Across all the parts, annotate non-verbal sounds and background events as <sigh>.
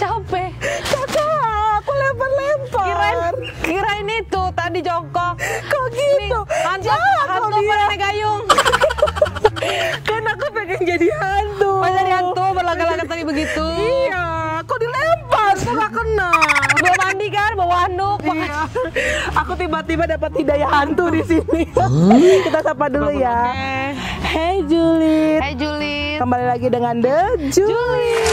Capek. Kakak, aku lempar-lempar. Kirain, kirain itu tadi jongkok. Kok gitu? Hantu, Jahat hantu kau dia. pada gayung. Kan aku pengen jadi hantu. Pas dari hantu berlagak-lagak tadi begitu. Oh, Iya, kok dilempar? Kok gak kena? Bawa mandi kan, bawa handuk. Iya. Aku tiba-tiba dapat hidayah hantu di sini. Kita sapa dulu ya. Hey Juliet. Hey Juli, Kembali lagi dengan The Juliet.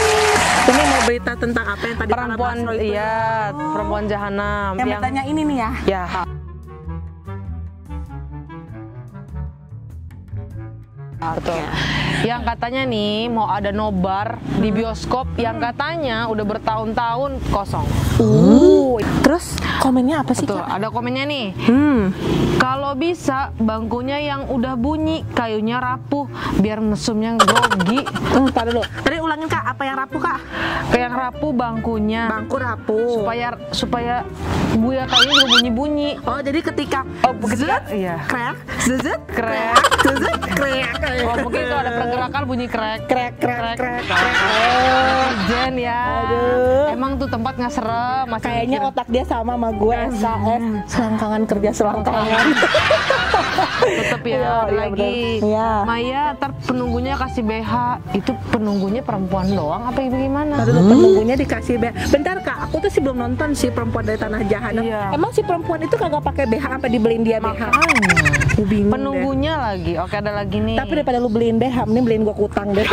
Ini mau berita tentang apa yang tadi perempuan Tara bahas, Roy? iya, perempuan jahanam Yang bertanya ini nih ya. ya. Betul. Yang katanya nih mau ada nobar Hmm. di bioskop yang katanya udah bertahun-tahun kosong. Uh. Terus komennya apa sih? Tuh, Kak? ada komennya nih. Hmm. Kalau bisa bangkunya yang udah bunyi, kayunya rapuh, biar mesumnya grogi. Hmm, tar dulu. Tadi ulangin kak, apa yang rapuh kak? Kayak rapuh bangkunya. Bangku rapuh. Supaya supaya buaya kayunya juga bunyi-bunyi. Oh jadi ketika Oh, ketika- zet, iya. krek, zezet, Krek. krek, zezet, krek. Oh, mungkin itu ada pergerakan bunyi krek. Krek, krek, krek, krek. Oh, Jen ya. Aduh. Emang tuh tempat nggak serem, masih Kayaknya mikir. otak dia sama sama gue SKS selangkangan kerja selangkangan. tetep ya. Iya, ada iya, lagi. bener. Iya. Maya, ntar penunggunya kasih BH. Itu penunggunya perempuan doang apa gimana? Aduh, penunggunya dikasih BH. Bentar kak, aku tuh sih belum nonton si perempuan dari tanah jahanam. Iya. Emang si perempuan itu kagak pakai BH apa dibeliin dia BH? Makanya. Aku bingung deh. Penunggunya lagi. Oke, ada lagi nih. Tapi daripada lu beliin BH, mending beliin gue kutang deh.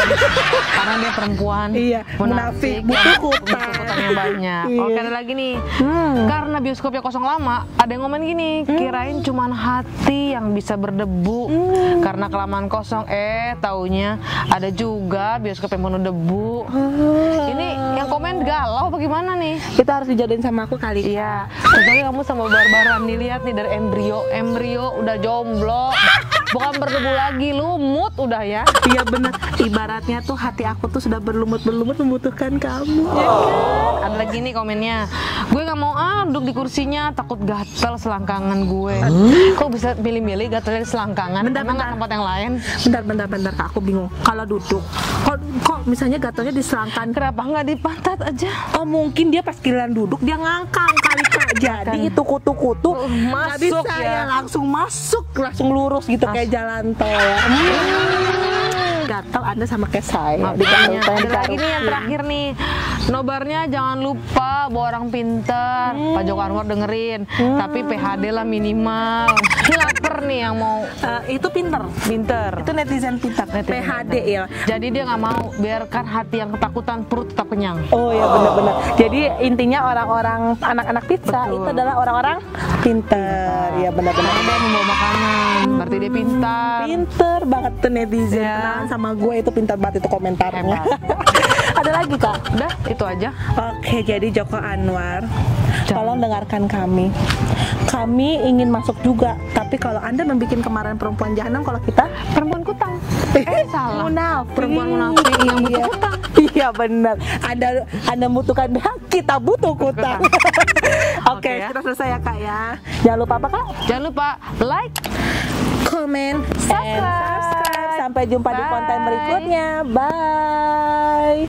karena dia perempuan. kan? Iya, munafik, butuh hutang. butuh hutang yang banyak. Iya. Oke, ada lagi nih. Karena bioskopnya kosong lama, ada yang ngomen gini, kirain cuman hati yang bisa berdebu karena kelamaan kosong. Eh, taunya ada juga bioskop yang penuh debu. Ini yang komen galau bagaimana nih? <laughs> Kita harus dijodohin sama aku kali. Iya, kecuali kamu sama barbaran nih lihat nih dari embrio, embrio udah jomblo, bukan berdebu lagi, lumut udah ya. Iya bener, ibaratnya tuh hati aku tuh sudah berlumut-berlumut membutuhkan kamu ya kan? Ada lagi nih komennya. Gue nggak mau ah duduk di kursinya, takut gatel selangkangan gue. Kok bisa milih-milih gatel di selangkangan? Bentar, Emang nggak bentar. tempat yang lain? Bentar, bentar, bentar, Kak, aku bingung Kalau duduk, kok, kok misalnya gatonya diselangkan Kenapa nggak di pantat aja? Oh mungkin dia pas giliran duduk, dia ngangkang kali Kak Jadi itu kutu-kutu Uh, nggak bisa masuk ya. langsung masuk, langsung lurus gitu kayak jalan tol Hmm. Gatel Anda sama kayak saya di Makanya. Ada karutan, lagi nih yang karutan. terakhir nih. Nobarnya jangan lupa bawa orang pinter. Pak Joko Anwar dengerin. Tapi PHD lah minimal. Ini Lapar nih yang mau Eh, Itu pinter, pinter. itu netizen pinter, Netizen PHD pinter. ya Jadi dia nggak mau biarkan hati yang ketakutan perut tetap kenyang. Oh ya benar-benar. Jadi intinya orang-orang anak-anak pizza Betul. itu adalah orang-orang pinter. Ya benar-benar. Karena dia membawa makanan, berarti dia pintar. Pinter banget tuh netizen. Ya. Kenalan sama gue itu pinter banget itu komentarnya. <laughs> Ada lagi kak. Udah, itu aja. Oke, jadi Joko Anwar, Jangan. tolong dengarkan kami. Kami ingin masuk juga, tapi kalau anda membuat kemarahan perempuan jahanam, kalau kita Perempuan kutang. Eh, salah. Munafik. Perempuan munafik yang butuh Iya. kutang. Iya benar. Anda Anda butuhkan <laughs> hak, kita butuh <laughs> kutang. Oke, Oke, ya. kita selesai ya Kak ya. Jangan lupa apa Kak? Jangan lupa like, Comment, Subscribe. subscribe. Sampai jumpa di konten Bye. berikutnya. Bye.